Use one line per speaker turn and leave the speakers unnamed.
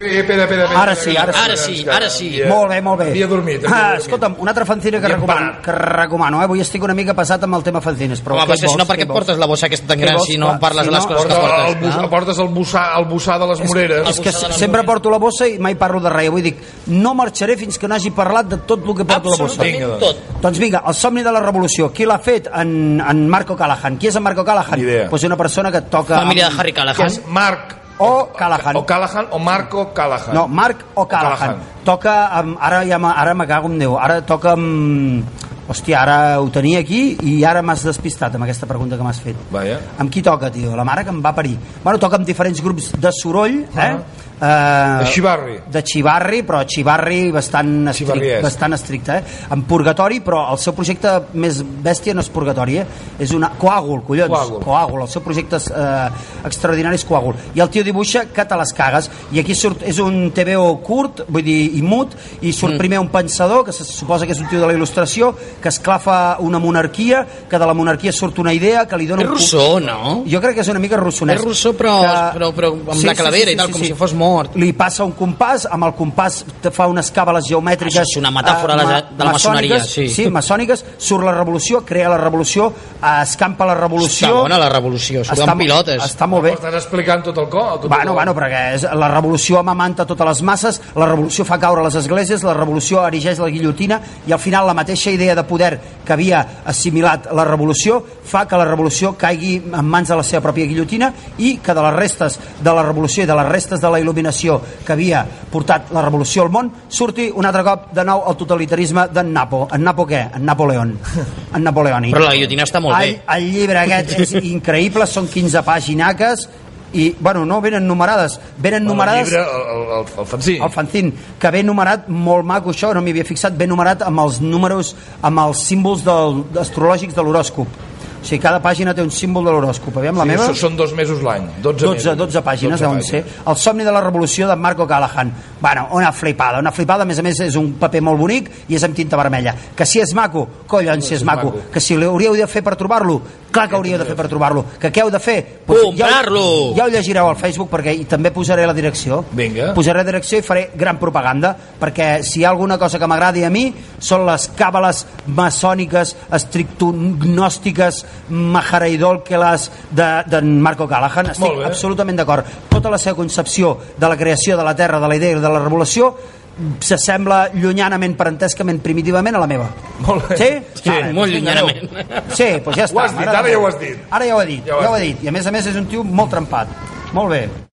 Eh, espera, espera, espera,
Ara
espera,
sí, ara sí.
espera,
Ara sí,
espera,
ara sí.
havia-
Molt bé, molt bé.
Havia dormit. havia
Ah,
dormit.
escolta'm, una altra fanzina que
Havia
recomano,
parat.
que recomano. Eh? Avui estic una mica passat amb el tema fanzines. Però
Home,
què
però si
vols,
no, per què
vols?
portes la bossa aquesta tan
Què
gran
vols,
si no
clar,
en parles
si
de les
no,
coses que
Porta,
es
el,
portes?
bus,
clar.
portes el bussar, el bussar de les
És-
Moreres.
És que
Al buscar
sempre
la
porto la bossa i mai parlo de res. Avui dic, no marxaré fins que no hagi parlat de tot el que porto a la bossa.
Vinga, doncs.
Absolutament tot.
Doncs vinga, el somni de la revolució. Qui l'ha fet? En, en Marco Callahan. Qui és en Marco Callahan?
Ni idea.
Pues una persona que toca...
Família
amb-
de Harry
Que
Callahan.
és Marc
O Callahan.
O Callahan o Marco Callahan.
No, Marc o Callahan.
Callahan.
Toca amb... Ara, ja me- ara me cago en Déu. Ara toca amb... Hòstia, ara ho tenia aquí i ara m'has despistat amb aquesta pregunta que m'has fet.
Vaja.
Amb qui toca, tio? La mare que em va parir. Bueno, toca amb diferents grups de soroll, eh? Uh,
De Xivarri.
De Xivarri, però Xivarri bastant, estric,
Xivarriesc.
bastant estricte, eh? En Purgatori, però el seu projecte més bèstia no és Purgatori, eh? És una... Coàgul, collons.
Coàgul.
Coàgul. El seu projecte és, eh, extraordinari és Coàgul. I el tio dibuixa que te les cagues. I aquí surt... És un TVO curt, vull dir, i mut, i surt mm. primer un pensador, que se suposa que és un tio de la il·lustració, que esclafa una monarquia, que de la monarquia surt una idea, que li dona...
És
un...
Rousseau, no?
Jo crec que és una mica russonès.
És Rousseau, però- però- però amb la calavera i tal, com si fos mort.
Li passa un compàs, amb el compàs te fa unes càbales geomètriques... eh,
Això és una metàfora de la-
ma-
de la maçoneria,
maçòniques,
sí.
Sí, maçòniques, surt la revolució, crea la revolució, eh, escampa la revolució...
Està bona la revolució, surt amb
mo-
pilotes.
Està molt bé.
Estàs explicant tot el cor? Tot
Bueno,
el...
bueno, perquè és, la revolució amamanta totes les masses, la revolució fa caure les esglésies, la revolució erigeix la guillotina i al final la mateixa idea de poder que havia assimilat la revolució fa que la revolució caigui en mans de la seva pròpia guillotina i que de les restes de la revolució i de les restes de la il·luminació que havia portat la revolució al món surti un altre cop de nou el totalitarisme d'en Napo. En Napo què? En Napoleón. En Napoleoni.
Però la guillotina està molt
el,
bé.
el llibre aquest és increïble, són 15 paginaques i, bueno, no venen numerades, venen numerades
El llibre, el, el, el, el fanzí.
el fanzín, que ve numerat molt maco això, no m'hi havia fixat, ve numerat amb els números, amb els símbols del, astrològics de l'horòscop. O sigui, cada pàgina té un símbol de l'horòscop. Aviam, la
Sí,
meva...
això Són dos mesos l'any. 12,
12,
mesos.
12 pàgines,
12
deuen ser. El somni de la revolució de Marco Callahan. Bueno, una flipada, una flipada, a més a més és un paper molt bonic i és amb tinta vermella. Que si és maco, collons, si és maco. Que si l'hauríeu de fer per trobar-lo, clar que hauríeu de fer per trobar-lo. Que què heu de fer? Doncs ja ho-
Comprar-lo!
Ja ho llegireu al Facebook perquè hi també posaré la direcció.
Vinga.
Posaré la direcció i faré gran propaganda perquè si hi ha alguna cosa que m'agradi a mi són les càbales maçòniques, estrictognòstiques, maharaidòlqueles de, de Marco Callahan.
Molt
Estic
bé.
absolutament d'acord. Tota la seva concepció de la creació de la Terra, de la idea i de la revolució s'assembla llunyanament, parentescament, primitivament a la meva.
Molt bé.
Sí?
Sí,
Vale,
molt
doncs vinga,
llunyanament.
adéu. Sí, doncs ja està.
Ho has dit,
M'agrada
ara ja ho
molt.
has dit.
Ara ja ho he dit, ja ho, he dit. I a més a més és un tio molt trempat. Molt bé.